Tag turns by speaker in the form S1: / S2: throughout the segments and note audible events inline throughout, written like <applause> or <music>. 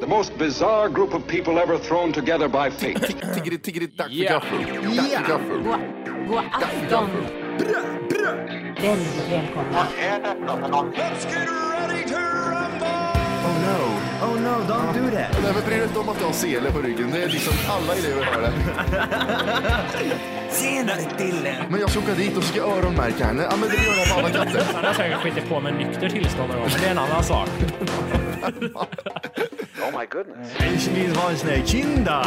S1: The most bizarre group of people ever thrown together by fate.
S2: Tiggeri, tiggeri, dack för
S3: Ja.
S2: gaffel. Dack för gaffel.
S4: God, god afton! Väldigt välkomna.
S5: Oh no, oh no, don't do that.
S2: Nej, men bry dig inte om att jag har sele på ryggen. Det är liksom alla elever har det.
S5: Senare Dille!
S2: Men jag ska åka dit och ska öronmärka henne. Ja, men det gör jag på alla katter.
S3: Han har säkert skitit på med nykter tillstånd någon gång, men det är en annan sak.
S5: Ich will ha en sån här kinda.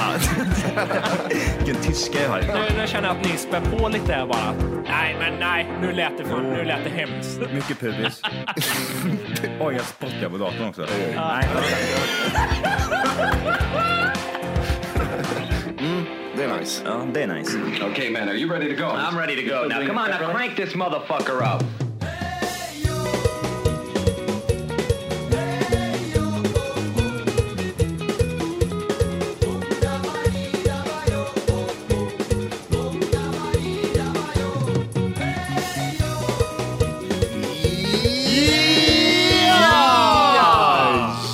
S5: <laughs> Vilken tyska jag har.
S3: Nu, nu känner jag att ni spär på lite här bara. Nej, men nej. Nu lät det, fan, nu lät det hemskt.
S6: Mycket pubis. Oj, jag spottar på datorn också.
S2: Det är nice.
S6: Ja, det är nice.
S1: okay, man, are you ready to go? I'm ready to go. Now, come on, now crank this motherfucker up.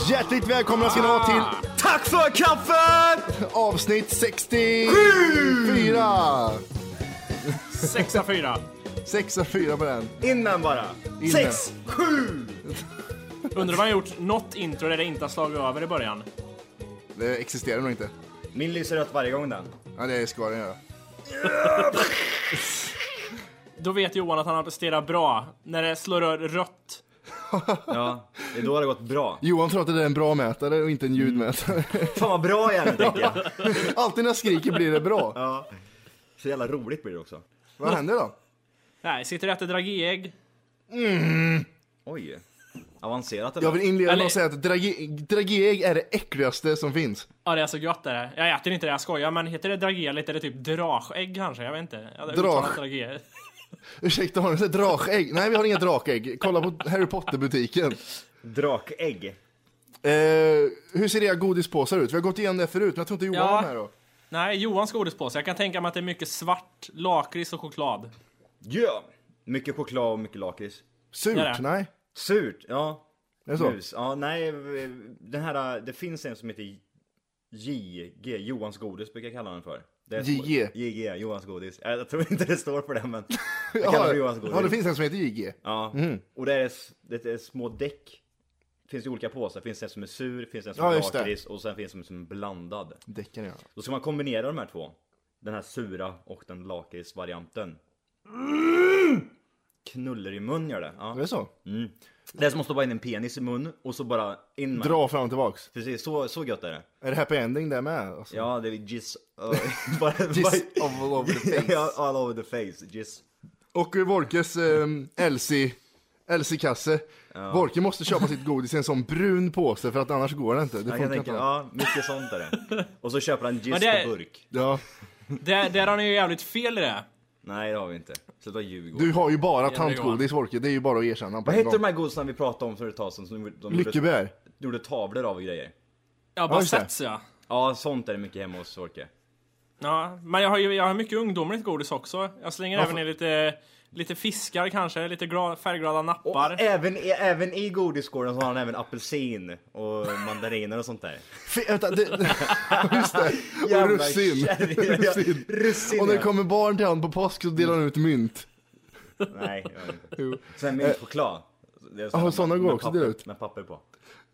S2: Hjärtligt välkomna ska ni vara till
S5: Tack för kaffet!
S2: avsnitt 64.
S3: 6-4.
S2: 6 av 4 på den.
S5: Innan bara.
S2: Innan.
S5: Sex, sju!
S3: Undrar om han gjort något intro där det inte har slagit över i början.
S2: Det existerar nog inte.
S5: Min lyser rött varje gång den.
S2: Ja, det ska den göra.
S3: Då vet Johan att han har presterat bra när det slår rö- rött.
S5: Ja, det är då det har gått bra.
S2: Johan tror att det är en bra mätare och inte en ljudmätare.
S5: Fan vad bra <laughs> jag är nu tänkte jag.
S2: Alltid när jag skriker blir det bra.
S5: Så jävla roligt blir det också.
S2: Vad händer då?
S3: Nej, sitter och äter dragéägg.
S5: Oj. Avancerat
S2: Jag
S5: eller?
S2: vill inleda med
S3: Eller-
S2: att säga att dragi- drageägg är det äckligaste som finns.
S3: Ja, det är så gött det är det. Jag äter inte det, jag skojar. Men heter det dragé eller heter det typ dragägg kanske? Jag vet inte. Jag hade
S2: Drag.
S3: uttalat dragé.
S2: Ursäkta, har ni sett drakägg? Nej, vi har inga drakägg. Kolla på Harry Potter-butiken.
S5: Drakägg.
S2: Eh, hur ser era godispåsar ut? Vi har gått igenom det förut, men jag tror inte Johan
S3: Ja.
S2: var med då.
S3: Nej, Johans godispåse. Jag kan tänka mig att det är mycket svart, lakrits och choklad.
S5: Ja! Mycket choklad och mycket lakrits.
S2: Surt?
S3: Ja, det.
S2: Nej?
S5: Surt, ja.
S2: Är det så?
S5: Mus. Ja, nej, den här, det finns en som heter JG, Johans godis brukar jag kalla den för. Det är-
S2: JG.
S5: JG, Johans godis. Jag jag tror inte det står för det
S2: <laughs>
S5: men jag kallar det
S2: Ja,
S5: för Johans godis.
S2: ja, det finns Mhm. en som heter JG.
S5: Ja, och det är, s- det är små däck. Finns det olika påsar, finns det en som är sur, finns det en som
S2: Ja,
S5: är
S2: just det.
S5: lakrits och sen finns det en som är blandad.
S2: Däcken ja.
S5: Då ska man kombinera de här två. Den här sura och den lakritsvarianten.
S2: Mm!
S5: Knuller i mun gör det.
S2: Är
S5: Ja.
S2: det så?
S5: Det är som att stoppa in en penis i mun och så bara in med.
S2: Dra fram och tillbaks.
S5: Precis, så, så gött är det.
S2: Är det happy ending där med? Alltså,
S5: Ja, det är jizz... ö, bara-
S2: Jizz
S5: bara-
S2: all
S5: <laughs>
S2: over the face.
S5: Ja, all over the face. Jizz.
S2: Och Wolkes eh, LC LC-kasse. Wolke måste köpa sitt godis i en sån brun påse för att annars går det inte. Det
S5: Jag kan
S2: funkar
S5: tänka,
S2: inte.
S5: ja, mycket sånt är det. Och så köper han jizz
S3: Men det-
S5: på burk.
S2: Ja.
S3: Där, där har ni ju jävligt fel i det.
S5: Nej, det har vi inte. Sluta ljug.
S2: Du har ju bara
S3: Jävla Johan.
S2: tantgodis Wolke, det är ju bara att erkänna på
S5: Vad
S2: en
S5: hette
S2: gång.
S5: de här godisarna vi pratade om för ett tag sedan? Som de gjorde,
S2: Lyckebär.
S5: gjorde tavlor av och grejer.
S3: Ja, bara
S2: just det.
S3: sets ja.
S5: Ja, sånt är det mycket hemma hos Folke.
S3: Ja, men jag har ju jag har mycket ungdomligt godis också. Jag slänger
S2: Varför?
S3: även i lite, lite fiskar kanske, lite gra, färgglada nappar.
S5: Även, i- även i godisgården så har han även apelsin och mandariner och sånt där.
S2: Fy, vänta, det, <laughs> just det. Och
S5: Jävla
S2: <laughs> russin.
S5: kärring.
S2: russin.
S5: Russin,
S2: Och när det
S5: ja.
S2: kommer barn till honom på påsk så delar han ut mynt.
S5: <laughs> Nej, jag vet inte.
S2: Jo.
S5: Sen mintchoklad. Det är
S2: ja, Eh, såna går
S5: med
S2: också
S5: papper-
S2: dela ut.
S5: Med papper på.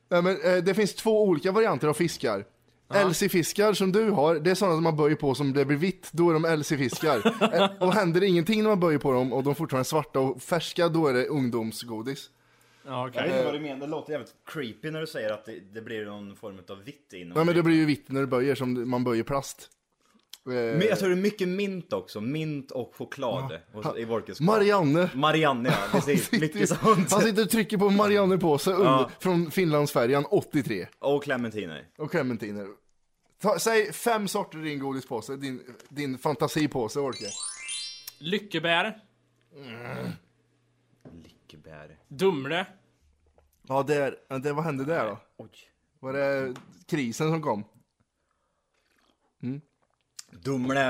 S2: Nej, men, eh, det finns två olika varianter av fiskar. LC-fiskar som du har, det är sådana som man böjer på som det blir vitt, då är de LC-fiskar. Eh, och händer det ingenting när man böjer på dem och de fortfarande är svarta och färska, då är det ungdomsgodis.
S3: Ja,
S5: Jag
S3: okej.
S5: vet inte vad du menar, det låter jävligt creepy när du säger att det, det blir någon form av vitt inom.
S2: Nej men det blir ju vitt när du böjer som man böjer plast. Eh,
S5: Men jag tror det är mycket mint också, mint och choklad hos, i Wolkes
S2: Marianne! <laughs>
S5: Marianne ja, precis, mycket sånt.
S2: Han sitter och trycker på en Mariannepåse under, från Finlandsfärjan 83.
S5: Och clementiner.
S2: Och clementiner. Ta, säg fem sorter i din godispåse, din, din fantasipåse Orke.
S3: Lyckebär,
S5: Lyckebär.
S3: Dumle.
S2: Ja, där, ja, där, vad hände där då?
S5: Oj.
S2: Var det krisen som kom?
S5: Dumle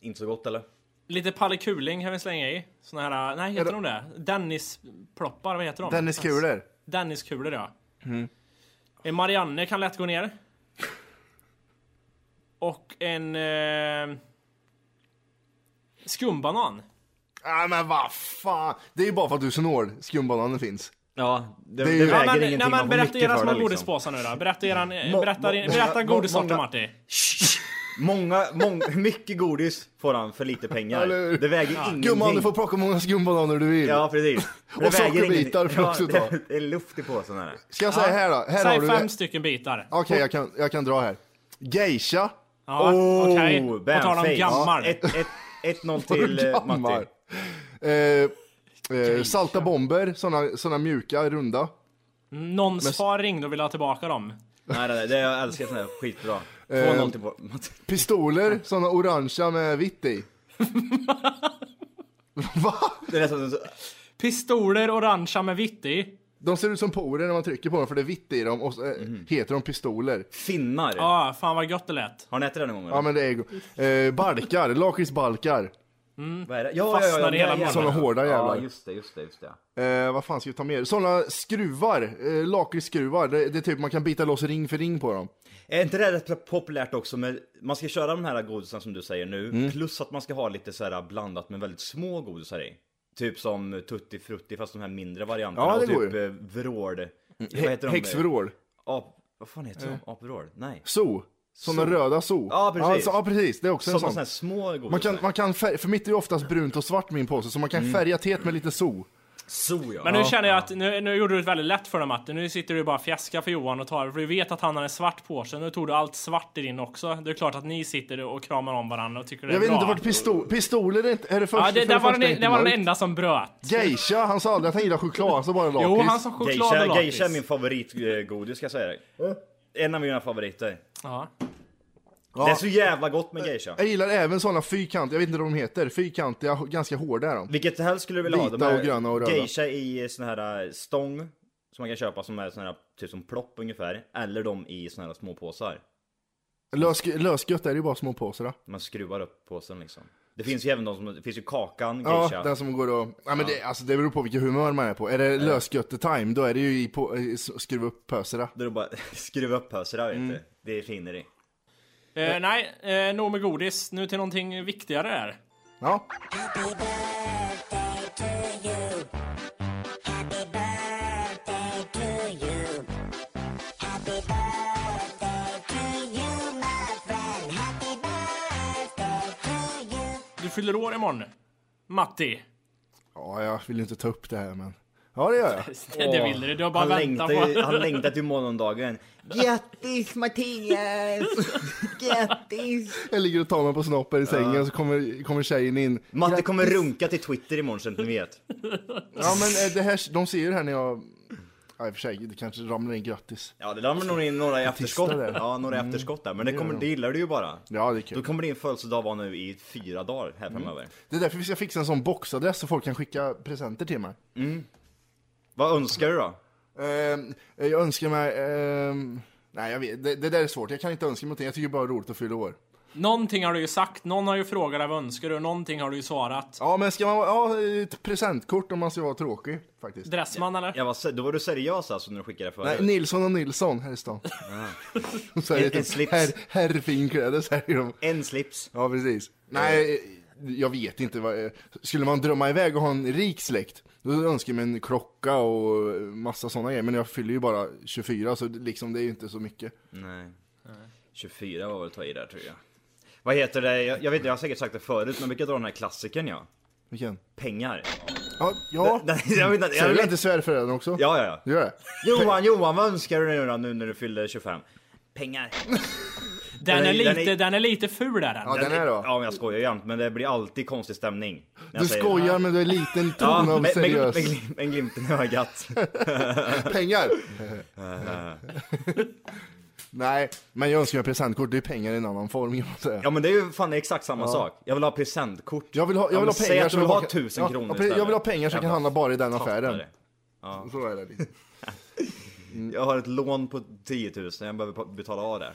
S5: Inte så gott eller?
S3: Lite pallekuling kan vi slänga i. Såna här, nej heter de det? Dennis-ploppar, vad heter de?
S2: Dennis
S5: alltså.
S2: kulor.
S3: Denniskulor ja. Mm. En Marianne kan lätt gå ner. Och en... Eh, skumbanan.
S2: Nej men vad fan. Det är ju bara för att du är så snål skumbananen finns.
S5: Ja, det,
S2: Det är
S5: det,
S2: ju-
S5: väger
S3: Ja, men,
S5: ingenting.
S3: nej,
S5: man
S3: men
S5: får
S3: berätta
S5: mycket
S3: era
S5: för
S3: små
S5: det, liksom.
S3: godisbåsar nu då. Berätta, eran,
S5: Må-
S3: berätta, din,
S5: må-
S3: berätta
S5: många-
S3: godissorter
S5: många-
S3: Martin.
S5: Många, många, <laughs> mycket godis får han för lite pengar.
S2: Eller hur?
S5: Det väger ingenting.
S2: Gumman du får plocka hur många skumbananer du vill.
S5: Ja, <laughs> precis. Det
S2: Och
S5: väger
S2: sockerbitar
S5: ingenting.
S2: får du också
S5: Ja,
S2: ta.
S5: det- Det är luft i påsen här.
S2: Ska jag säga här då? Här har
S3: Säg
S2: du
S3: fem
S2: det.
S3: stycken bitar.
S2: Okej jag, kan, jag kan dra här. Geisha.
S3: Ja,
S5: Oh,
S3: okej. På
S5: bam,
S3: tal om
S5: face.
S3: gammal. <laughs>
S5: 1-0 till eh,
S2: Gammar.
S5: Matti.
S2: Eh, eh, salta bomber, såna, såna mjuka, runda.
S3: Någons far ringde och ville ha tillbaka dem.
S5: Nej, nej, nej, det jag älskar sån här skitbra.
S3: Eh,
S5: 2-0 till Matti.
S2: Pistoler, såna orangea med vitt i. <laughs> Va?
S5: Det är nästan så...
S3: Pistoler orangea med vitt i.
S2: De ser ut som porer när man trycker på dem för det är vitt i dem och så, eh,
S5: Mhm.
S2: heter de pistoler.
S5: Finnar.
S3: Ja, fan vad gött det lät.
S5: Har ni ätit det någon gång? eller?
S2: Ja men det är go- eh, Balkar, lakritsbalkar.
S5: Vad är det? Ja,
S3: Fastnar i hela
S5: ja,
S3: munnen.
S2: Såna hårda jävlar.
S5: Ja, just det, just det, just det.
S2: Eh, vad fan ska vi ta mer? Såna skruvar, eh, lakritsskruvar. Det, det är typ man kan bita loss ring för ring på dem.
S5: Är inte det rätt populärt också med, man ska köra de här godisarna som du säger nu,
S2: Mm.
S5: plus att man ska ha lite så här blandat med väldigt små godisar i. Typ som Tutti Frutti fast de här mindre varianterna.
S2: Ja, det
S5: och
S2: går
S5: typ
S2: ju. Mm.
S5: eh, vrål. Vad heter de?
S2: Häxvrål.
S5: Ap, vad fan heter de? Apvrål? Nej.
S2: So. Såna röda so.
S5: Ja, precis.
S2: så- Ja precis, det är också
S5: Sådana
S2: en
S5: såna
S2: sån.
S5: här små godisar.
S2: Man kan, man kan färg, för mitt är ju oftast brunt och svart min påse, så man kan färga teet med lite so.
S5: So ja.
S3: Men nu känner jag att nu, nu gjorde du det väldigt lätt för dig Matti. Nu sitter du bara och fjäskar för Johan och tar, för du vet att han har en svart påse. Nu tog du allt svart i din också. Det är klart att ni sitter och kramar om varandra och tycker det är
S2: Jag vet
S3: bra.
S2: inte vart pistol, pistoler är, inte- är det först,
S3: Ja, det,
S2: för
S3: där var
S2: första
S3: den,
S2: inte
S3: det var den
S2: mörkt.
S3: enda som bröt.
S2: Geisha, han sa aldrig att han gillar choklad, han sa bara lakrits.
S3: Jo, han sa choklad och
S5: Geisha, geisha är
S3: lakrits.
S5: min favoritgodis ska jag säga dig. En av mina favoriter.
S3: Ja.
S5: Det är så jävla gott
S2: Eh,
S5: med geisha.
S2: Jag gillar även sådana fyrkantiga, jag vet inte vad de heter, fyrkantiga, h- ganska hårda är de.
S5: Vilket helst skulle du vilja ha?
S2: Vita
S5: De här
S2: och gröna och röda.
S5: Geisha i sån här eh, stång som man kan köpa som är sån här typ som plopp ungefär. Eller de i såna här små påsar.
S2: Lös, lösgött är det ju bara små påsar. då.
S5: Man skruvar upp påsen liksom. Det finns ju även de som, det finns ju kakan,
S2: Ja,
S5: geisha.
S2: den som går och... Ja, men det, alltså, det beror på vilket humör man är på. Är det lösgötte-time, då är det ju i på, i s- skruva upp pöserna.
S5: Där du bara <laughs> skruva upp påsar där, vet
S2: Mm.
S5: du. Det är finare i.
S3: Eh, nej, eh, nog med godis. Nu till någonting viktigare här.
S2: Ja.
S3: Du fyller år imorgon. Matti. <laughs>
S2: ja, jag vill inte ta upp det här men... Ja, det gör jag.
S3: Det, det vill du. Du har bara
S5: Han
S3: väntat
S5: längtar, ju, han
S3: på...
S5: längtar
S3: <laughs>
S5: till morgondagen. Grattis Mattias! Grattis!
S2: Jag ligger och tar mig på snoppen i sängen och så kommer, kommer tjejen in.
S5: Matte kommer runka till Twitter imorgon så att ni vet.
S2: Ja men eh, det här, de ser ju det här när jag... Ja, i och för sig, det kanske ramlar in grattis.
S5: Ja det ramlar nog in några i efterskott.
S2: där.
S5: Ja, några i efterskott där. Men det, kommer, det gillar du ju bara.
S2: Ja, det är
S5: Då
S2: kul.
S5: kommer din födelsedag vara nu i fyra dagar här
S2: Mm.
S5: framöver.
S2: Det är därför vi ska fixa en sån boxadress så folk kan skicka presenter till mig.
S5: Vad önskar du då?
S2: Ehm, jag önskar mig... ehm, nej, jag vet, det, det där är svårt. Jag kan inte önska mig någonting. Jag tycker bara det är roligt att fylla år.
S3: Någonting har du ju sagt. Någon har ju frågat dig vad önskar du? Någonting har du ju svarat.
S2: Ja, men ska man vara... Ja, ett presentkort om man ska vara tråkig, faktiskt.
S3: Dressman eller?
S5: Jag var, se- då var du seriös alltså när du skickade det förut?
S2: Nej, Nilsson och Nilsson här i stan. Och <laughs> så är
S5: En-
S2: det
S5: en
S2: typ
S5: slips.
S2: herr, herrfinkläder säger de.
S5: En slips.
S2: Ja, precis. Nej,
S5: Eh.
S2: eh, jag vet inte. Vad, skulle man drömma iväg och ha en rik släkt, då önskar jag mig en klocka och massa sådana grejer. Men jag fyller ju bara 24, så det- liksom, det är ju inte så mycket.
S5: Nej. 24 var väl att ta i där tror jag. Vad heter det? Jag, jag vet inte, jag har säkert sagt det förut men vi kan dra den här klassikern ja.
S2: Vilken?
S5: Pengar.
S2: Ja, ja.
S5: <laughs> Nej, jag vet inte. Jag
S2: Säger du
S5: vet
S2: inte svärföräldrarna också?
S5: Ja, ja, ja.
S2: Gör det?
S5: Johan, Johan, vad önskar du nu då, nu när du fyller 25? Pengar.
S3: Den är
S5: Den är- den är-
S3: lite, den är lite ful är den.
S2: Ja, den är då.
S5: Ja, men jag skojar ju jämt men det blir alltid konstig stämning. när jag
S2: Du
S5: säger
S2: skojar men du är liten
S5: det. Ja,
S2: ton
S5: men,
S2: av
S5: men, men,
S2: seriös.
S5: glim- men glimten i ögat. <laughs>
S2: Pengar! Nej, men jag önskar mig presentkort. Det är pengar i en annan form kan man säga.
S5: Ja men det är ju fan exakt samma sak. Jag vill ha presentkort.
S2: Jag vill ha, jag
S5: Ja,
S2: vill ha
S5: men säg
S2: pengar
S5: att du
S2: som
S5: vill
S2: bara
S5: ha
S2: kan-
S5: 1000
S2: ja,
S5: kronor
S2: ja, pre-
S5: istället.
S2: Jag vill ha pengar som jag kan handla bara i den affären.
S5: Tattare.
S2: Så är det. lite. <laughs>
S5: Jag har ett lån på 10 000, jag behöver betala av det.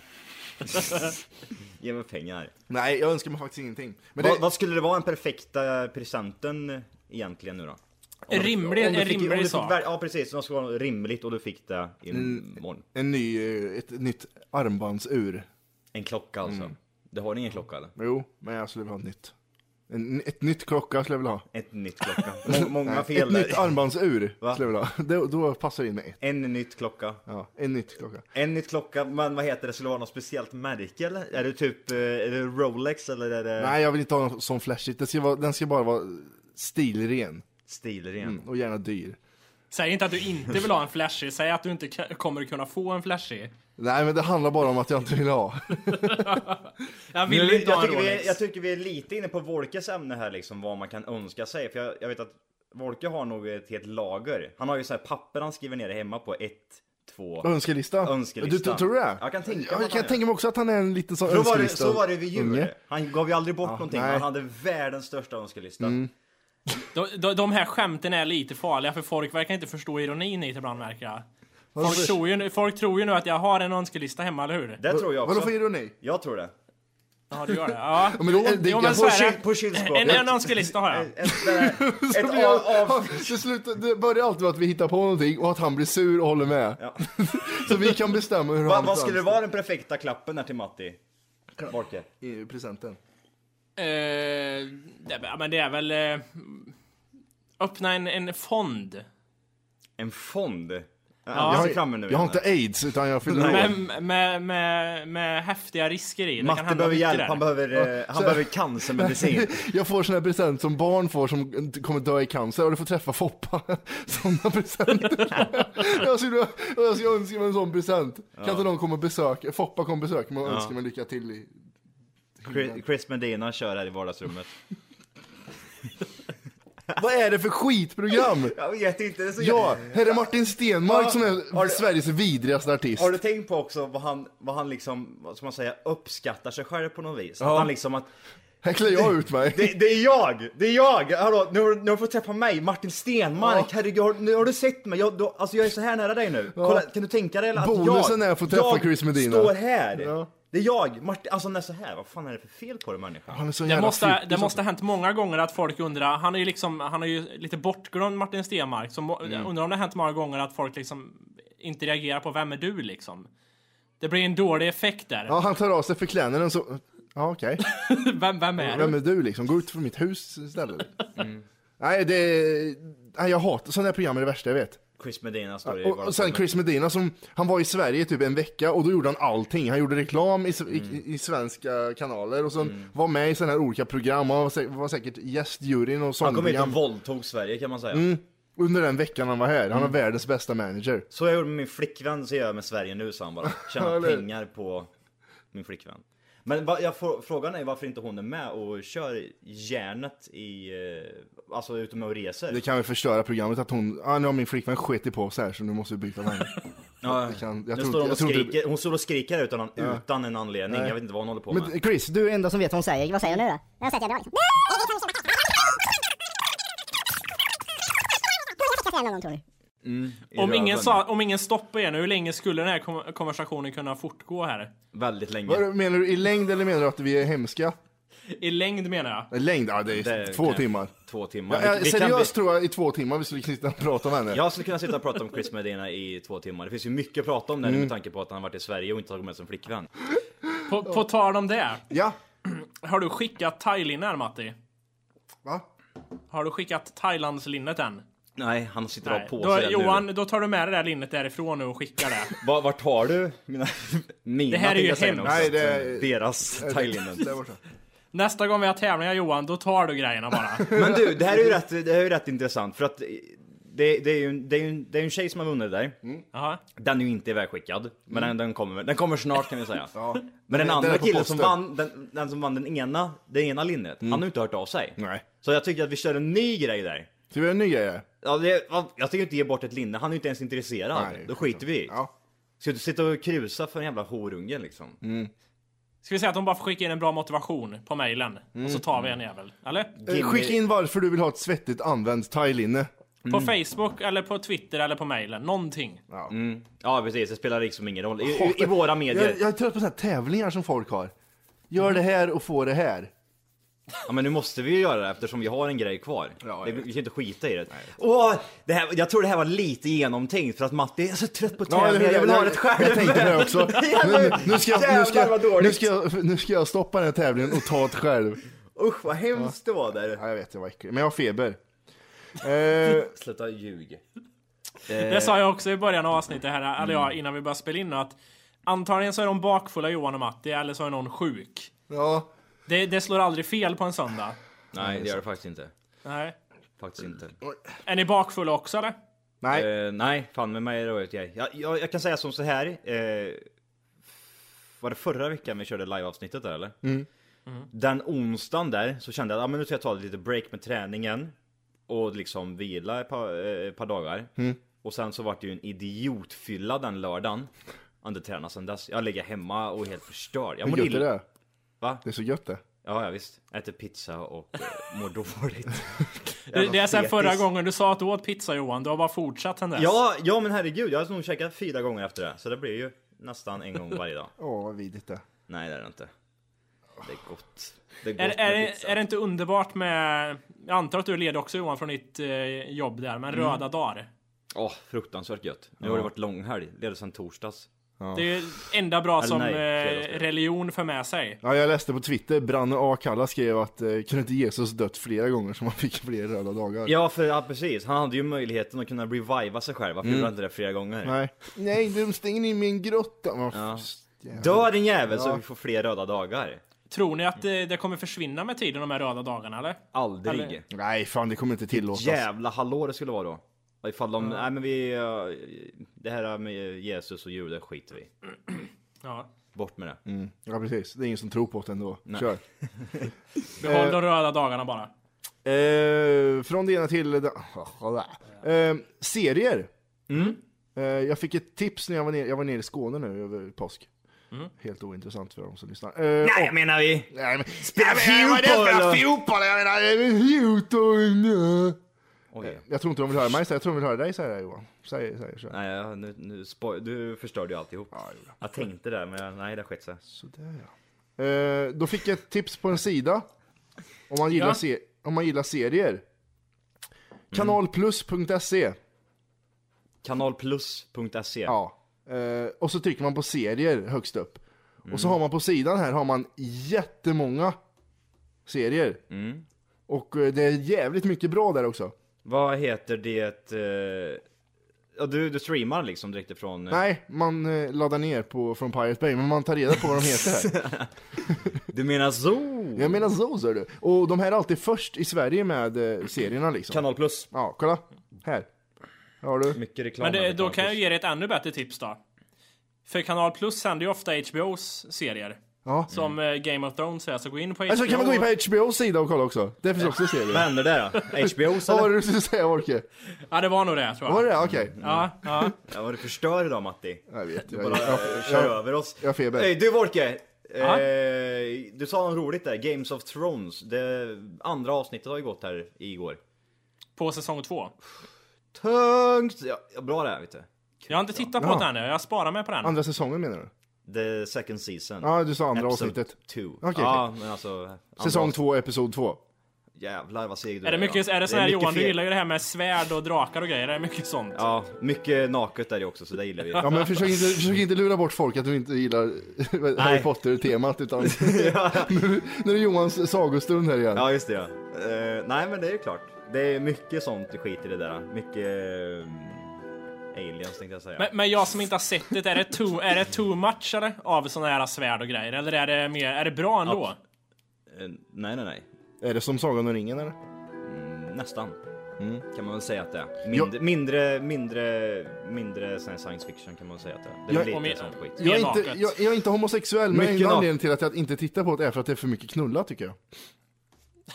S5: Ge mig pengar.
S2: Nej, jag önskar mig faktiskt ingenting. Men
S5: Vad-
S2: det,
S5: Vad skulle det vara den perfekta presenten egentligen nu då?
S3: En rimlig,
S5: Om du
S3: en
S5: fick- om du
S3: rimlig
S5: fick
S3: sak.
S5: väl- Ja precis, det ska vara rimligt och du fick det imorgon.
S2: en ny, eh, ett nytt armbandsur.
S5: En klocka alltså.
S2: Mm.
S5: Det har ingen
S2: <laughs>
S5: klocka eller?
S2: Jo, men jag skulle vilja ha ett nytt. En, ett nytt klocka skulle jag vilja ha.
S5: Ett
S2: <laughs>
S5: nytt klocka. Må- många
S2: Nej,
S5: fel
S2: Ett nytt
S5: där.
S2: armbandsur
S5: Va?
S2: skulle jag vilja ha. <laughs> Det, då passar det in med ett.
S5: En nytt klocka.
S2: Ja, en nytt klocka.
S5: En nytt klocka, men vad heter det? Skulle det vara något speciellt märke eller? Är det typ eh, är det Rolex eller är det
S2: Nej, jag vill inte ha något sån flashigt. Det ska vara, den ska bara vara stilren
S5: stilren?
S2: och gärna dyr.
S3: Säg inte att du inte vill ha en flashig, säg att du inte k- kommer kunna få en flashig.
S2: Nej, men det handlar bara om att jag inte vill ha. <laughs>
S3: Jag vill
S5: jag,
S3: inte ha en
S5: tycker vi
S3: Rolex.
S5: är, jag tycker vi är lite inne på Wolkes ämne här liksom, vad man kan önska sig. För jag, jag vet att Wolke har nog ett helt lager. Han har ju så här papper han skriver ner det hemma på ett, två...
S2: Önskelista.
S5: Önskelista.
S2: Du, t- tror du det?
S5: Jag kan tänka
S2: jag,
S5: mig att han
S2: kan
S5: gör.
S2: tänka mig också att han är en liten sån
S5: Så var, det,
S2: önskelista.
S5: så var det vid jul.
S2: unge.
S5: Han gav ju aldrig bort någonting,
S2: nej. Mm.
S5: men han hade världens största önskelista.
S3: De, de, de här skämten är lite farliga för folk verkar inte förstå ironin i det ibland märker jag. Folk
S2: Varför?
S3: tror, ju, nu- folk tror ju nu att jag har en önskelista hemma, eller hur?
S5: Det tror jag
S2: Vadå
S5: också.
S2: för ironi?
S5: Jag tror det.
S3: Ja, du gör det. Ja. Eh,
S2: men det- det-
S3: jo,
S2: jag
S3: men så
S2: får
S3: är
S5: kyl- på Eh,
S3: det. En,
S5: kylskåpet.
S3: en önskelista har jag.
S5: Ett,
S2: <laughs>
S5: ett, ett,
S2: Det,
S5: av, av,
S2: <laughs> slutar, det börjar alltid med att vi hittar på någonting och att han blir sur och håller med.
S5: Ja.
S2: så vi kan bestämma hur
S5: va,
S2: han
S5: vad skulle vara den perfekta klappen här till Matti? Wolke?
S2: I presenten.
S3: Eh, det, ja, men det är väl... eh, öppna en, en fond.
S5: En fond? Ja,
S3: Jag
S5: jag ser fram emot
S2: Jag har
S5: den.
S2: inte aids utan jag fyller år. <laughs>
S3: Med, med, med, med häftiga risker i. Det kan
S5: Matte
S3: hända
S5: behöver
S3: mycket
S5: hjälp,
S3: där.
S5: han behöver, eh, han behöver <laughs> cancermedicin.
S2: Jag får sån här present som barn får som kommer dö i cancer och du får träffa Foppa. <laughs> Såna presenter. <laughs> jag, skulle, och jag skulle önska mig en sån present. Kan inte någon komma och besöka, Foppa kommer besöka mig och önskar mig lycka till i...
S5: Chris- Chris Medina kör här i vardagsrummet.
S2: Vad är det för
S5: <laughs>
S2: skitprogram?
S5: Jag vet inte, det är så
S2: Ja, här är Martin Stenmark
S5: Ja.
S2: som är
S5: Har du-
S2: Sveriges vidrigaste artist.
S5: Har du tänkt på också vad han, vad han liksom, vad ska man säga, uppskattar sig själv på något vis? Att han liksom att,
S2: Här klär jag ut mig.
S5: det, det är jag! Det är jag! Hallå, nu har, du- nu har du fått träffa mig, Martin Stenmark, herregud, har, nu har du sett mig? Jag, då, alltså jag är så här nära dig nu. Kolla, kan du tänka dig att
S2: Bonusen
S5: jag,
S2: är att få träffa
S5: jag
S2: Chris Medina.
S5: står här!
S2: Ja.
S5: Det är jag, Martin, alltså när så här, vad fan är det för fel på dig människa?
S2: Han är så
S3: Det
S2: jävla
S3: måste,
S2: flippig
S3: det
S5: liksom.
S2: som-
S3: måste ha hänt många gånger att folk undrar, han är ju liksom, han är ju lite bortglömd Martin Stenmark, så må,
S5: Mm.
S3: undrar om det har hänt många gånger att folk liksom inte reagerar på vem är du liksom? Det blir en dålig effekt där.
S2: Ja, han tar av sig förklädnaden så... Ja, okej.
S3: <laughs> Vem, vem är
S2: Vem
S3: du?
S2: är du liksom? Gå ut från mitt hus istället.
S3: Mm.
S2: Nej, det... Nej, jag hatar sådana här program är det värsta jag vet.
S5: Chris Medina står i
S2: Och, och sen
S5: vardagsrummet.
S2: Chris Medina som, han var i Sverige typ en vecka och då gjorde han allting. Han gjorde reklam i, s-
S3: Mm.
S2: i, i svenska kanaler och sen var med i sådana här olika program. Han var, sä- var säkert gästjuryn och
S5: Han kom hit och
S2: sångprogram.
S5: våldtog Sverige kan man säga.
S2: Mm. Under den veckan han var här.
S3: Mm.
S2: Han har världens bästa manager.
S5: Så jag gjorde med min flickvän, så gör jag med Sverige nu sa
S2: <laughs>
S5: han bara.
S2: Ja,
S5: Tjäna
S2: eller hur?
S5: pengar på min flickvän. Men va, jag får, frågan är varför inte hon är med och kör järnet i, eh, alltså ute med och reser.
S2: Det kan väl förstöra programmet att hon, ah, nu har min flickvän skett i på oss här så nu måste vi byta
S3: <laughs>
S2: vän.
S5: ja,
S2: det kan- jag
S5: nu
S2: tror inte-
S5: står hon,
S2: jag
S5: och
S2: tror inte det-
S5: skriker, hon står och skriker utan, an- utan en anledning, jag vet inte vad hon håller på med.
S2: Men Chris,
S7: Du är enda som vet vad hon säger. Vad säger hon nu då? Jag säger att jag drar.
S5: I
S3: Om ingen,
S5: röven.
S3: sa, om ingen stoppar er nu, hur länge skulle den här kom- konversationen kunna fortgå här?
S5: Väldigt länge.
S2: vad är det- menar du i längd eller menar du att vi är hemska?
S3: I längd menar jag.
S2: I Längd, ja det är
S5: Det
S2: två
S5: Eh, kan-
S2: timmar.
S5: Två timmar.
S2: Ja,
S5: Vi-
S2: jag-
S5: vi kan
S2: seriöst
S5: bli-
S2: tror jag i två timmar vi skulle sitta och prata om henne.
S5: jag skulle kunna sitta och prata om Chris Medina i två timmar. Det finns ju mycket att prata om
S2: Mm.
S5: där nu med tanke på att han har varit i Sverige och inte tagit med sin flickvän.
S3: På, på tal om det,
S2: Ja,
S3: har du skickat thailinnar Matti?
S2: va?
S3: Har du skickat thailandslinnet än?
S5: Nej, han sitter och har
S3: Nej.
S5: på
S3: Då,
S5: sig det
S3: Johan,
S5: nu.
S3: då tar du med det där linnet därifrån nu och skickar det.
S5: Va- Vart har du mina... <laughs> mina
S3: Det här är
S5: tänkte
S3: ju
S5: jag säga
S3: hemskt.
S5: nu också.
S2: Nej, det är-
S5: Deras thailändare.
S2: Där borta.
S3: Nästa gång vi har tävlingar Johan, då tar du grejerna bara.
S5: Men du, det här är ju rätt, det här är ju rätt intressant för att det, det, är ju, en- det, är ju, en- det är ju en tjej som har vunnit
S2: Mm.
S5: där.
S3: Jaha.
S5: Den är ju inte ivägskickad, men den, den, kommer, den kommer snart kan
S2: <laughs>
S5: vi säga. Men den
S2: Den- den
S5: andra
S2: är på
S5: killen som
S2: posten.
S5: vann, den, den som vann den ena, det ena linnet, han har ju inte hört av sig.
S2: Mm. Nej.
S5: Så jag tycker att vi kör en ny grej där.
S2: Ska vi göra en ny grej?
S5: Ja, det, va- jag tänker inte ge bort ett linne, han är ju inte ens intresserad.
S2: Nej.
S5: Då skiter vi i.
S2: Ja.
S5: Ska du sitta och krusa för en jävla horunge liksom?
S2: Mm.
S3: Ska vi säga att de bara får skicka in en bra motivation på mejlen? Och så tar vi en jävel. Eller?
S2: Eh, Skicka in varför du vill ha ett svettigt använt thailinne.
S3: På
S5: Mm.
S3: Facebook eller på Twitter eller på mailen. Någonting.
S5: Ja precis, det spelar liksom ingen roll. I, i, i våra medier.
S2: Jag, jag är trött på såna här tävlingar som folk har. Gör det här och få det här.
S5: Ja men nu måste vi ju göra det eftersom vi har en grej kvar.
S2: Ja,
S5: det,
S2: jag vet.
S5: vi kan inte skita i det. Åh, det här, jag tror det här var lite genomtänkt för att Matti är så trött på
S2: eller hur?
S5: tävlingar, jag vill ha det själv.
S2: Jag tänkte på det
S5: <laughs>
S2: också. Nu, nu, nu, ska jag, nu,
S5: Jävlar, vad
S2: ska,
S5: dåligt.
S2: nu, ska jag, nu ska jag stoppa den här tävlingen och ta det själv.
S5: Usch vad hemskt det var där.
S2: Ja, jag vet, det var äckligt. Men jag har feber. Eh,
S5: Sluta ljug.
S3: Det sa jag också i början av avsnittet här, eller ja, innan vi började spela in nu, att antagligen så är de bakfulla Johan och Matti, eller så är någon sjuk.
S2: ja,
S3: Det, det slår aldrig fel på en söndag.
S5: Nej det gör det faktiskt inte.
S3: Nej.
S5: Faktiskt inte.
S3: Är ni bakfulla också eller?
S2: Mm. nej.
S5: Eh, nej, fan med mig då vet jag. Jag, jag, jag kan säga som så här. Eh, var det förra veckan vi körde liveavsnittet där eller?
S2: Mm.
S5: Den onsdagen där så kände jag att ah, men nu ska jag ta lite break med träningen och liksom vila ett par, eh, ett par dagar.
S2: Mm.
S5: Och sen så vart det ju en idiotfylla den lördagen. Jag har inte tränat sen dess. Jag ligger hemma och är helt förstörd. Jag
S2: Hur
S5: mår
S2: gött är
S5: illa.
S2: det?
S5: Va?
S2: Det är så gött det.
S5: Ja, ja visst. Äter pizza och eh, mår <laughs> dåligt.
S3: Det, det är sen
S5: Jävla
S3: förra
S5: fetis.
S3: gången du sa att du åt pizza Johan, du har bara fortsatt sen dess.
S5: Ja, ja men herregud, jag har nog käkat fyra gånger efter det. Så det blir ju nästan en gång varje <laughs> dag.
S2: Åh, vad vidrigt det.
S5: Nej det är det inte. Det är gott. Det är gott
S3: Är, är,
S5: med
S3: det-
S5: pizza.
S3: är det inte underbart med... Jag antar att du är ledig också Johan från ditt eh, jobb där, men
S5: Mm.
S3: röda dagar.
S5: Åh, fruktansvärt gött. Nu har det varit långhelg. Leder sedan torsdags.
S3: Det är ju enda bra som
S5: nej, fredag
S3: eh,
S5: ska jag.
S3: religion för med sig.
S2: Ja, jag läste på Twitter, Branne A. Kalla skrev att eh, kunde inte Jesus dött flera gånger så man fick fler röda dagar?
S5: Ja, för ja, precis. Han hade ju möjligheten att kunna reviva sig själv. Varför gjorde han inte det flera gånger?
S2: Nej. Nej, de stänger in mig i en grotta. Man, ja.
S5: Dö din jävel så vi får fler röda dagar.
S3: Tror ni att eh, det kommer försvinna med tiden de här röda dagarna eller?
S5: Aldrig.
S3: Eller-
S2: Nej, fan det kommer inte tillåtas.
S5: Jävla hallå det skulle vara då. Och Ifall de, nej men vi, eh, det här med Jesus och judar skiter vi Eh.
S3: Ja.
S5: Bort med det.
S2: Ja, precis. Det är ingen som tror på det ändå. Kör.
S3: Behåll de röda dagarna bara.
S2: Eh, från det ena till det <laughs> eh, Serier. Eh, jag fick ett tips när jag var nere, jag var nere i Skåne nu över påsk. Helt ointressant för de som lyssnar. Eh,
S5: Nej menar vi!
S2: Nej, men,
S5: Spela
S2: fotboll! Jag menar,
S5: fotboll!
S2: fotboll! Jag menar, det är fotboll!
S5: Oj.
S2: Jag tror inte de vill höra mig säga, jag tror de vill höra dig säga det här, Johan. Säg, säg, säg.
S5: Nej, ja, nu, nu spoil- du förstörde ju alltihop. jag tänkte det, men jag- nej det skett sig.
S2: Sådär ja. Eh, då fick jag ett tips på en sida. Om man gillar,
S3: Ja.
S2: se- om man gillar serier. Kanalplus.se.
S5: Kanalplus.se.
S2: Ja. Eh, och så trycker man på serier högst upp. Och så har man på sidan här har man jättemånga serier.
S5: Mm.
S2: Och eh, det är jävligt mycket bra där också.
S5: Vad heter det? eh, Ja, du, du streamar liksom direkt ifrån... eh,
S2: Nej, man eh, laddar ner på, från Pirate Bay, men man tar reda på vad de heter här.
S5: <laughs> Du menar så?
S2: Jag menar så, sa du. Och de här är alltid först i Sverige med eh, serierna liksom.
S5: Kanalplus.
S2: Ja, kolla. Här. Här har du.
S5: Mycket reklam.
S3: Men
S5: här
S3: det,
S5: på
S3: då
S5: Kanal
S3: kan jag
S5: Plus.
S3: ju ge dig ett ännu bättre tips då. För Kanal Plus sänder ju ofta HBOs serier.
S2: Ja.
S3: Som eh, Game of Thrones är, så gå in på HBO.
S2: Alltså kan man gå in på HBOs sida och kolla också? Det finns också
S5: Vad
S2: serier.
S5: händer där
S2: <laughs>
S5: då? HBO's
S2: Vad var
S5: eller?
S2: det du skulle säga Orke?
S3: Ja, det var nog det tror jag.
S2: Var det det? Okej.
S3: Ja, ja.
S5: Ja, vad du förstör idag Matti.
S2: Jag vet.
S5: Mm. Du
S2: Jag,
S5: bara
S2: jag,
S5: eh, kör
S2: jag,
S5: över oss.
S2: jag har feber.
S5: Hey, du Wolke!
S3: Ja.
S5: Eh, du sa något roligt där, Games of Thrones. Det andra avsnittet har ju gått här igår.
S3: På säsong två.
S5: Tungt! Ja, ja, bra det här vet du.
S3: Jag har inte tittat
S2: Ja.
S3: på den ännu, jag sparar mig på den.
S2: andra säsongen menar du?
S5: The second season.
S2: Ja, du sa andra
S5: Episode
S2: avsnittet.
S5: Two.
S2: okej.
S5: ja, men alltså... andra
S2: Säsong
S5: avsnitt.
S2: två, episod två.
S5: Jävlar vad seg du
S3: Är det, mycket,
S5: ja.
S3: är det så här
S5: mycket
S3: Johan, du
S5: fel.
S3: gillar ju det här med svärd och drakar och grejer, är det mycket sånt?
S5: Ja, mycket naket där ju också så det gillar vi.
S2: Ja men försök inte,
S5: <laughs>
S2: försök inte lura bort folk att du inte gillar <laughs> Harry
S5: Nej.
S2: Potter-temat utan
S5: <laughs>
S2: <laughs> nu, nu är det Johans sagostund här igen.
S5: ja, just det ja. Eh, nej men det är ju klart. Det är mycket sånt skit i det där. Mycket... eh, aliens tänkte jag säga.
S3: Men, men jag som inte har sett det, är det too, är det too much eller? Av såna här svärd och grejer? Eller är det mer, är det bra ändå?
S5: Eh, nej, nej, nej.
S2: Är det som Sagan om ringen eller?
S5: Nästan.
S2: Mm.
S5: Kan man väl säga att det är. Mindre, mindre, mindre, mindre sån här science fiction kan man väl säga att det är. Det är
S2: Jag-
S5: lite
S3: Om-
S5: sånt skit.
S2: Jag är,
S3: Mer
S2: inte,
S3: naket.
S2: jag, jag är inte homosexuell men
S5: Mycket
S2: enda
S5: nak-
S2: anledningen till att jag inte tittar på det är för att det är för mycket knulla tycker jag.
S3: <laughs>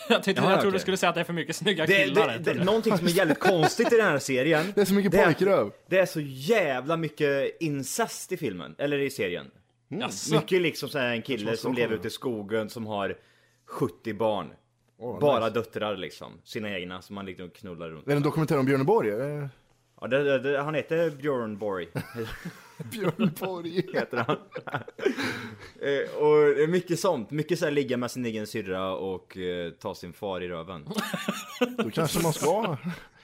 S3: Jag, tyckte,
S5: Ja,
S3: jag trodde
S5: okej.
S3: du skulle säga att det är för mycket snygga
S5: Det,
S3: killar. typ.
S5: det,
S3: jag
S5: det,
S3: trodde.
S5: någonting som är jävligt konstigt i den här serien.
S2: <laughs> Det är så mycket
S5: är-
S2: pojkröv.
S5: Det är så jävla mycket incest i filmen, eller i serien.
S3: Jaså?
S5: Mm. Mycket liksom så här en kille som lever ute i skogen som har 70 barn. Bara döttrar liksom, sina egna som man liksom knullar runt.
S2: Är det en dokumentär om Björn Borg? Eh,
S5: Ja, det, det, det, han heter Björn Borg, <laughs>
S2: Björn Borg.
S5: heter han. <laughs> Eh, och det är mycket sånt, mycket så här ligga med sin egen syrra och eh, ta sin far i röven.
S3: <laughs>
S2: Då kanske man ska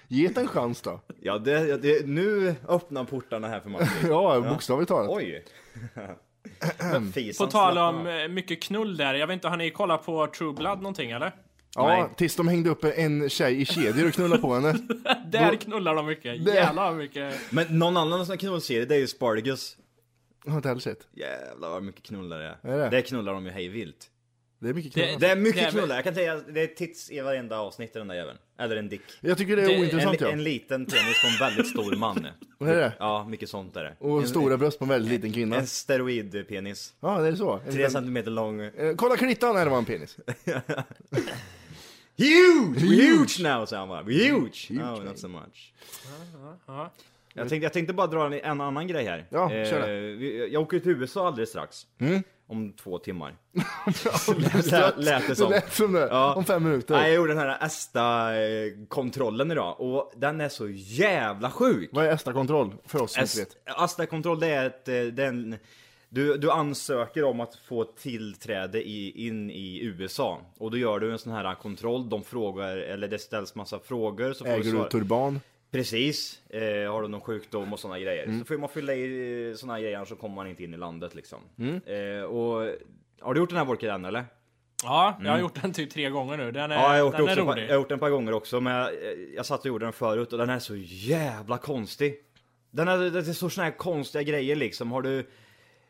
S2: ge det en chans då.
S5: Ja, det, det, nu öppnar portarna här
S3: <laughs>
S5: för Martin.
S2: Ja, bokstavligt talat.
S5: Oj! <laughs> Men
S3: På
S5: fisan
S3: tal
S5: slappnar
S3: om
S5: av.
S3: eh, mycket knull där. Jag vet inte, har ni kollat på True Blood någonting eller?
S2: Ja,
S5: nej.
S2: tills de hängde upp en tjej i kedjor och knullade på henne.
S3: Där knullar de mycket.
S2: Det-
S3: Jävlar vad mycket.
S5: Men någon annan som knullserie, det är ju Spartacus.
S2: Jag har inte heller sett.
S5: Jävlar vad mycket knullar det
S2: Är det?
S5: Det knullar de ju hej vilt.
S2: Det är mycket
S3: Det-
S2: knull.
S5: Det är mycket
S3: Nej, men-
S5: knullar, jag kan säga det är tits i varenda avsnitt i den där jäveln. Eller en dick.
S2: Jag tycker det är
S3: det-
S5: En,
S2: ointressant ja.
S5: en liten penis på en väldigt stor man.
S2: <laughs> Vad är det?
S5: Ja, mycket sånt är det.
S2: Och
S5: en,
S2: stora bröst på en väldigt liten kvinna.
S5: En steroidpenis.
S2: Ja, det är så. En
S5: Tre
S2: liten-
S5: centimeter lång.
S2: Eh, Kolla klittan! Nej, det var en penis.
S5: Huge! Huge now säger han bara. Huge! no, not so much. Jag tänkte, jag tänkte bara dra en, en annan grej här. Eh,
S2: Ja, kör Mm. det.
S5: vi- jag åker till USA alldeles strax. Om
S2: <laughs>
S5: två timmar. <laughs>
S2: Strax.
S5: lät, lät det som.
S2: lät som det.
S5: Ja.
S2: Om fem minuter.
S5: Nej, jag gjorde den här ESTA-kontrollen idag och den är så jävla sjuk!
S2: Vad är ESTA-kontroll? För oss som inte vet.
S5: ESTA-kontroll det är ett, eh, den, du, du ansöker om att få tillträde i, in i USA och då gör du en sån här kontroll, de frågar, eller det ställs massa frågor. Så får
S2: Äger du
S5: svara-
S2: turban?
S5: Precis, eh, har du någon sjukdom och sådana grejer.
S2: Mm.
S5: Så får man fylla i sådana grejer så kommer man inte in i landet liksom.
S2: Mm.
S5: Eh, och, har du gjort den här Volker än eller?
S3: Ja, jag har gjort den typ tre gånger nu. Den är,
S5: Mm. Ja, jag har, gjort det
S3: den är
S5: också, ett par-
S3: rolig.
S5: jag har gjort den ett par gånger också, men jag, jag satt och gjorde den förut och den är så jävla konstig. Den är, det är så såna här konstiga grejer liksom. Har du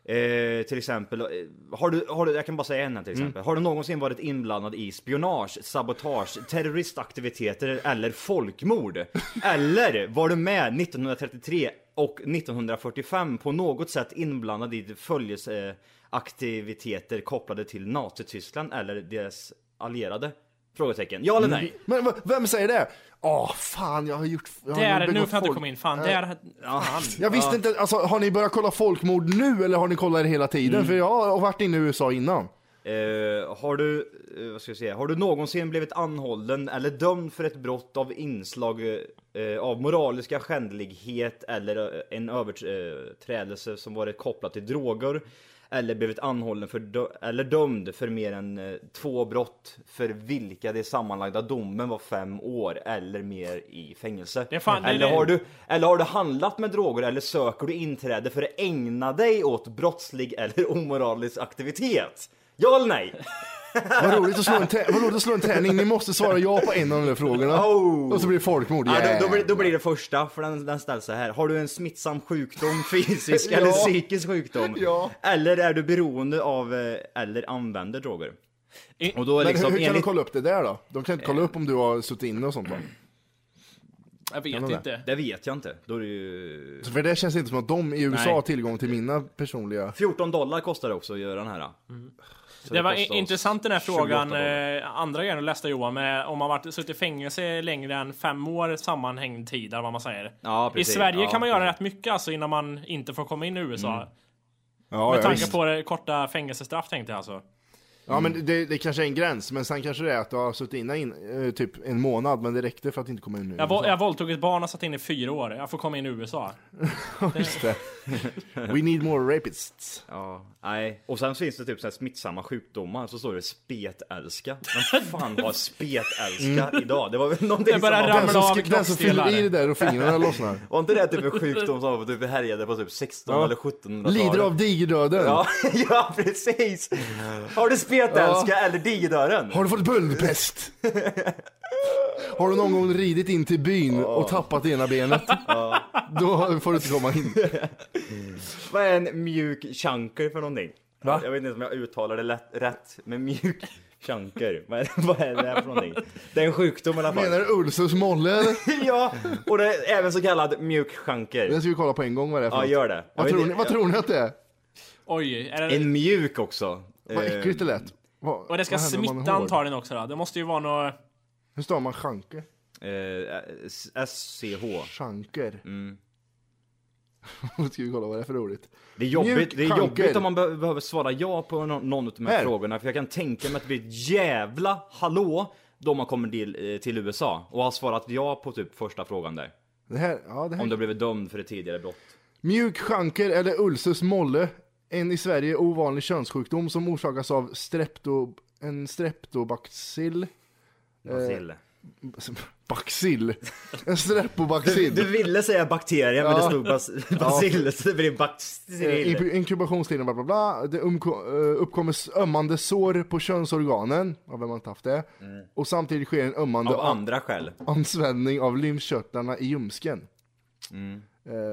S5: eh, till exempel, eh, har du, har du, jag kan bara säga en här till exempel. Har du någonsin varit inblandad i spionage, sabotage, terroristaktiviteter eller folkmord? Eller var du med 1933 och 1945 på något sätt inblandad i följesaktiviteter kopplade till Nazityskland eller deras allierade? Frågetecken. Ja eller nej?
S2: Men va- vem säger det? Åh, fan, jag har gjort... Jag har
S3: Där, nu
S2: begått
S3: får jag inte
S2: folk-
S3: komma in.
S5: Äh,
S3: Fan,
S2: Nej.
S3: där... Fan.
S2: Jag visste inte, alltså har ni börjat kolla folkmord nu eller har ni kollat det hela tiden?
S5: Mm.
S2: För jag har varit inne i USA innan.
S5: Eh, har, du, eh, vad ska jag säga, har du någonsin blivit anhållen eller dömd för ett brott av inslag eh, eh, av moraliska skändlighet eller eh, en överträdelse som varit kopplat till droger? Eller blivit anhållen för dö- eller dömd för mer än eh, två brott för vilka det sammanlagda domen var fem år eller mer i fängelse?
S3: Det är fan- det är
S5: eller,
S3: det.
S5: har du, eller har du handlat med droger eller söker du inträde för att ägna dig åt brottslig eller omoralisk aktivitet? Ja eller nej?
S2: Vad roligt att slå en, trä- vad roligt att slå en träning, ni måste svara ja på en av de där frågorna.
S5: Oh.
S2: Och så blir det folkmord.
S5: Ja, då, då, blir, då
S2: Jävlar.
S5: blir det första, för den, den ställs så här. Har du en smittsam sjukdom, fysisk
S2: Ja.
S5: eller psykisk sjukdom?
S2: Ja.
S5: Eller är du beroende av eh, eller använder droger?
S3: I-
S5: Och då är
S2: Men
S5: liksom
S2: hur kan de
S5: enligt... Mm.
S2: kolla upp det där då? De kan inte kolla upp om du har suttit inne och sånt va?
S3: Jag vet
S2: man det?
S3: inte.
S5: Det vet jag inte. Då är det ju...
S2: För det känns inte som att de i USA
S5: Nej.
S2: har tillgång till mina personliga...
S5: 14 dollar kostar det också att göra den här. Så
S3: Det var
S5: kostar
S3: i-
S5: oss
S3: intressant den här
S5: 28
S3: frågan,
S5: dollar.
S3: eh, andra grejen du läste Johan, med om man varit, suttit i fängelse längre än fem år sammanhängd tid, eller vad man säger.
S5: Ja,
S3: I
S5: precis.
S3: Sverige
S5: Ja,
S3: kan man göra
S5: precis. Mm.
S3: rätt mycket alltså, innan man inte får komma in i USA.
S2: Ja,
S3: Med
S2: ja,
S3: tanke
S2: visst.
S3: på det korta fängelsestraff tänkte jag alltså.
S2: ja men det, det kanske är en gräns, men sen kanske det är att du har suttit inne in, eh, typ en månad, men det räckte för att inte komma in nu.
S3: Jag,
S2: <laughs>
S3: vå- jag våldtog ett barn och satt in i fyra år. Jag får komma in i USA.
S2: We need more rapists.
S5: Ja, nej. Och sen finns det typ så här smittsamma sjukdomar, så står det spetälska. Vem fan har spetälska
S2: Mm.
S5: idag? Det var väl någonting
S3: Det
S5: som
S3: börjar
S5: var...
S3: ramla-
S2: Den som,
S3: av
S2: sk- den som fyller i
S3: kroppsdelar.
S2: det där och
S5: <laughs>
S2: fingrarna lossnar.
S5: Var inte det typ en sjukdom som typ härjade på typ 16 eller 1700-talet?
S2: Lider av digerdöden.
S5: Ja, <laughs> ja precis! Har du spetälska eller digerdören?
S2: Har du fått
S5: <laughs>
S2: böldpest? Har du någon gång ridit in till byn och tappat ena
S5: <laughs>
S2: benet? Då får du inte komma in.
S5: Vad är en mjuk chunker för någonting?
S2: Va?
S5: Jag vet inte om jag uttalar det lätt, rätt, men mjuk chunker. Vad är, vad är det här för någonting? Det är en sjukdom i alla
S2: Menar
S5: fall.
S2: du Ulsus molle eller?
S5: <laughs> Ja, och det är även så kallad mjuk
S2: Det
S5: chunker.
S2: ska vi kolla på en gång vad det är för
S5: Ja,
S2: något.
S5: gör det. Jag
S2: Vad
S5: vet
S2: tror,
S5: inte-
S2: ni, vad tror ni att det är?
S3: Oj, är det,
S5: En mjuk också.
S2: Vad
S5: Eh,
S2: äckligt det lät. Vad,
S3: och det ska
S2: vad händer om man är
S3: smitta
S2: hård?
S3: antagligen också då. Det måste ju vara något... <laughs>
S2: Hur stavar man chanke?
S5: Eh, SCH.
S2: Chanker.
S5: Mm.
S2: <laughs> Då ska vi kolla vad det är för roligt.
S5: Det är jobbigt, det är
S2: chanker.
S5: jobbigt om man be- behöver svara ja på någon, någon av de här,
S2: Här.
S5: frågorna för jag kan tänka mig att det blir ett jävla hallå då man kommer till, eh, till USA och har svarat ja på typ första frågan där.
S2: Det här, ja, det här.
S5: Om du blivit dömd för ett tidigare brott.
S2: Mjuk chanker eller ulcus molle, en i Sverige ovanlig könssjukdom som orsakas av strepto, en <laughs> streptobacill. Eh,
S5: Basil.
S2: Bacill? En
S5: Du,
S2: streptobacill.
S5: <laughs> du ville säga bakterie men det stod bas, basil så det blev
S2: Eh,
S5: bakterill.
S2: inku- Inkubationstiden, bla bla bla. Det umko- eh, uppkommer s- ömmande sår på könsorganen, av vem har inte haft det. Och samtidigt sker en ömmande
S5: Mm. Av andra skäl.
S2: ansvällning av lymfkörtlarna i ljumsken.
S5: Mm.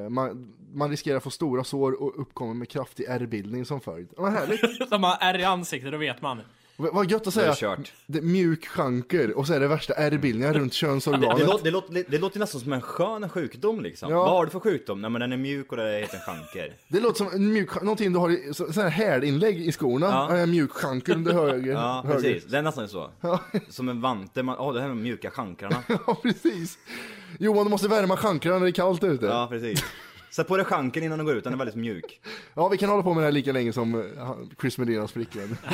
S2: Eh, Man, man riskerar få stora sår och uppkommer med kraftig ärrbildning som följd. Vad
S5: <laughs>
S2: härligt!
S3: De har ärr i ansiktet, då vet man.
S2: V- Vad gött att
S5: är
S2: säga
S5: det kört. Mm.
S2: det är mjuk chanker och så är det värsta ärrbildningar runt
S5: Det,
S2: könsorganet.
S5: låter, det, låter, det låter nästan som en skön sjukdom liksom.
S2: Ja.
S5: Vad har du för sjukdom? Nej men den är mjuk och det heter en chanker.
S2: Det låter som en mjuk, någonting du har i så- sån här hälinlägg i skorna. Ja. En mjuk chanker under höger.
S5: <laughs> Ja
S2: höger.
S5: precis, det är nästan så. Som en vante, man, åh det här är de mjuka chankrarna.
S2: <laughs> <laughs> Ja, precis. Johan, du måste värma chankrarna när det är kallt ute. Ja.
S5: Ja precis. Sätt på dig chanken innan du går ut, den är väldigt mjuk.
S2: vi kan hålla på med det här lika länge som eh, han- Chris Medinas flickvän.
S5: <laughs>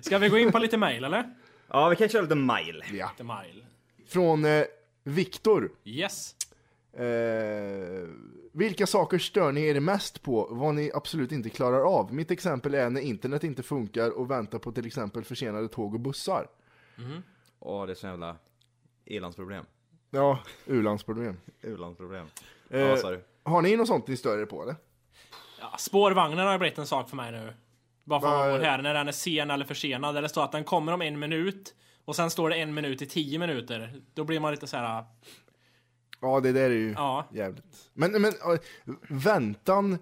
S3: Ska vi gå in på lite mail eller?
S5: Ja vi kan köra lite mile.
S3: Lite mail.
S2: Från eh, Viktor.
S3: Yes.
S2: Eh, vilka saker stör ni er mest på? Vad ni absolut inte klarar av? Mitt exempel är när internet inte funkar och väntar på till exempel försenade tåg och bussar.
S5: Åh det är så jävla elandsproblem.
S2: Ja, u-landsproblem.
S5: U-landsproblem.
S2: Eh,
S5: Ja, sorry.
S2: Har ni något sånt ni stör er på eller?
S3: Ja, spårvagnen har blivit en sak för mig nu. Bara för
S2: Vad-
S3: att vara här när den är sen eller försenad. Där det står att den kommer om en minut. Och sen står det en minut i tio minuter. Då blir man lite så här.
S2: Ja, det där är ju
S3: Ja.
S2: jävligt. Men, men eh, väntan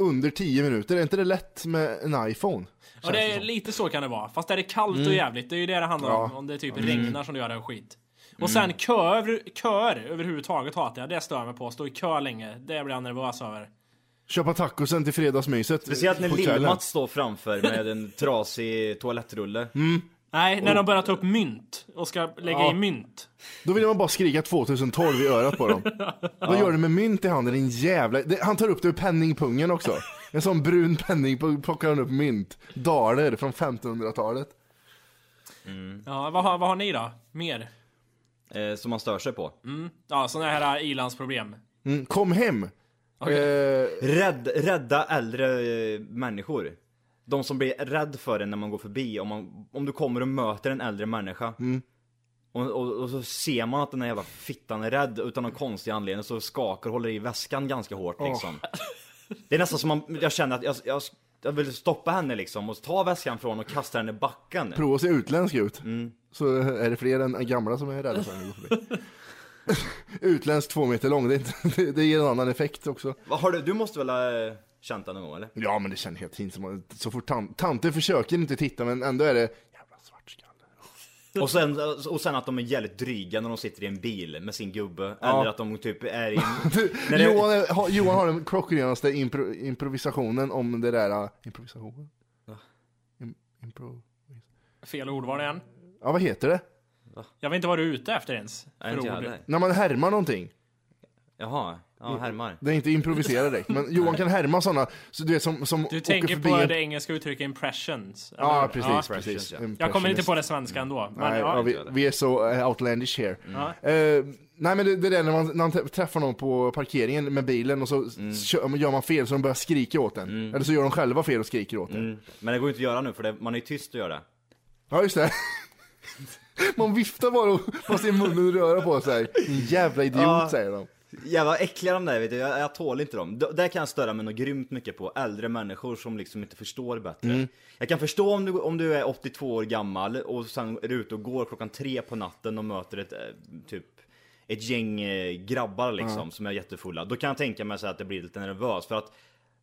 S2: under 10 minuter, är inte det lätt med en iPhone?
S3: Och det är lite så kan det vara. Fast är det kallt och jävligt. Det är ju det det handlar om.
S2: Ja.
S3: Om det typ regnar som det gör det och skit. Och sen köer, köer överhuvudtaget hatar jag. Det stör jag mig på. Stå i kö länge. Det blir jag nervös över.
S2: Köpa tacosen till fredagsmyset.
S5: Speciellt när
S2: på kvällen.
S5: Lill-Mats står framför med en trasig toalettrulle.
S2: Mm.
S3: Nej, när de börjar ta upp mynt. Och ska lägga i mynt.
S2: Då vill man bara skrika 2012 i örat på dem. Vad gör du med mynt i handen din jävla... Det, han tar upp det ur penningpungen också. En sån brun penning plockar han upp mynt. Daler från 1500-talet.
S3: Ja, vad, har- vad har ni då? Mer?
S5: Eh, som man stör sig på.
S3: Ja, sådana här äh, ilandsproblem.
S2: Mm, kom hem! Eh,
S5: Rädd, rädda äldre eh, människor. De som blir rädd för en när man går förbi. Om, man, om du kommer och möter en äldre människa. Och, och, och så ser man att den här jävla fittan är rädd utan någon konstig anledning. Så skakar och håller i väskan ganska hårt liksom. Det är nästan som man, jag känner att jag, jag, jag vill stoppa henne liksom. Och ta väskan från och kasta henne i backen.
S2: prova att se utländsk ut. Så är det fler än gamla som är rädda för när du går förbi. <laughs> utländsk två meter lång, det, är inte, det, det ger en annan effekt också.
S5: Vad Har du, du måste väl ha eh, känt det någon gång eller?
S2: Ja men det känner jag hela tiden som att- så fort tan- tanten försöker inte titta men ändå är det jävla svartskalle.
S5: Och sen, och sen att de är jävligt dryga när de sitter i en bil med sin gubbe. Eller att de typ är i en... när det-
S2: Johan, är, ha, Johan har den klockrenaste impro, improvisationen om det där... äh, Improvisationen? Im, impro...
S3: Fel ordval igen.
S2: Ja, vad heter det?
S3: Jag vet inte vad du är ute efter ens.
S5: Nej,
S3: för
S5: inte jag
S3: ord.
S5: heller.
S2: När man härmar någonting.
S5: Jaha, ja härmar.
S2: Det är inte improvisera direkt, men Johan kan härma sådana, så du vet som, som
S3: Du tänker
S2: förbi...
S3: på
S2: en-
S3: det engelska uttrycket impressions. eller
S2: Ja,
S3: hur?
S2: precis.
S3: Ja.
S2: precis.
S5: ja.
S3: Jag kommer inte på det svenska ändå. Men
S2: Nej,
S3: ja.
S2: ja, vi, vi är så eh, outlandish here.
S3: Ja.
S2: Eh, nej men det, det där när man, när man t- träffar någon på parkeringen med bilen och så
S3: Mm.
S2: kör, gör man fel så de börjar skrika åt en. Eller så gör de själva fel och skriker åt en.
S5: Mm. Men det går ju inte att göra nu för det, man är ju tyst och gör det.
S2: Ja just det. <laughs> Man viftar bara och fast i munnen röra på sig. Din jävla idiot
S5: Ja.
S2: säger de.
S5: Jävla äckliga de där vet du, jag, jag tål inte dem. D- där kan jag störa mig något grymt mycket på, äldre människor som liksom inte förstår bättre. Jag kan förstå om du, om du är 82 år gammal och sen är du ute och går klockan tre på natten och möter ett eh, typ ett gäng eh, grabbar liksom som är jättefulla. Då kan jag tänka mig så här att det blir lite nervös för att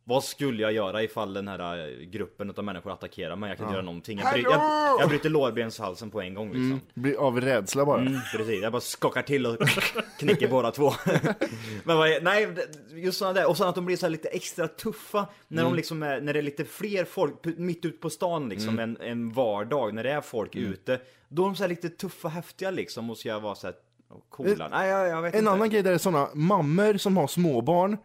S5: vad skulle jag göra ifall den här eh, gruppen av människor attackerar mig? Jag kan inte göra någonting. Jag, bry- jag, jag bryter lårbenshalsen på en gång liksom.
S2: Blir av rädsla bara.
S5: Mm, precis, jag bara skakar till och knäcker båda två. <laughs> Men vad är, nej, just sådana där. Och sen att de blir så här lite extra tuffa när,
S2: Mm.
S5: de liksom är, när det är lite fler folk p- mitt ute på stan liksom
S2: Mm.
S5: en, en vardag när det är folk ute. Då är de så här lite tuffa, häftiga liksom och ska vara så här coola. Nej, jag, jag vet
S2: Eh, En
S5: inte.
S2: annan grej där är sådana mammor som har småbarn.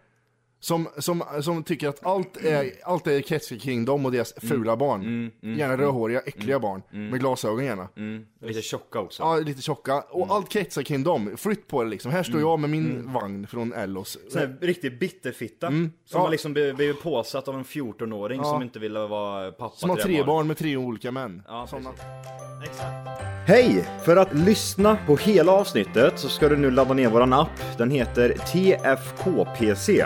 S2: Som, som, som tycker att allt är, allt är kretsar kring dem och deras
S5: Mm.
S2: fula barn. gärna rödhåriga, äckliga barn. Med glasögon gärna.
S5: Mm. Lite tjocka också.
S2: Ja, lite tjocka. Och
S5: Mm.
S2: allt kretsar kring dem. Flytt på det liksom. Här står jag med min vagn från Ellos.
S5: Sån Mm. här riktig bitterfitta. Som
S2: Mm. Ja.
S5: har liksom bli- blivit påsatt av en 14-åring som inte ville vara pappa
S2: Som har
S5: till
S2: tre
S5: det
S2: barn med tre olika män.
S5: Ja,
S2: Såna.
S5: Exakt. Hej! För att lyssna på hela avsnittet så ska du nu ladda ner våran app. Den heter TFKPC.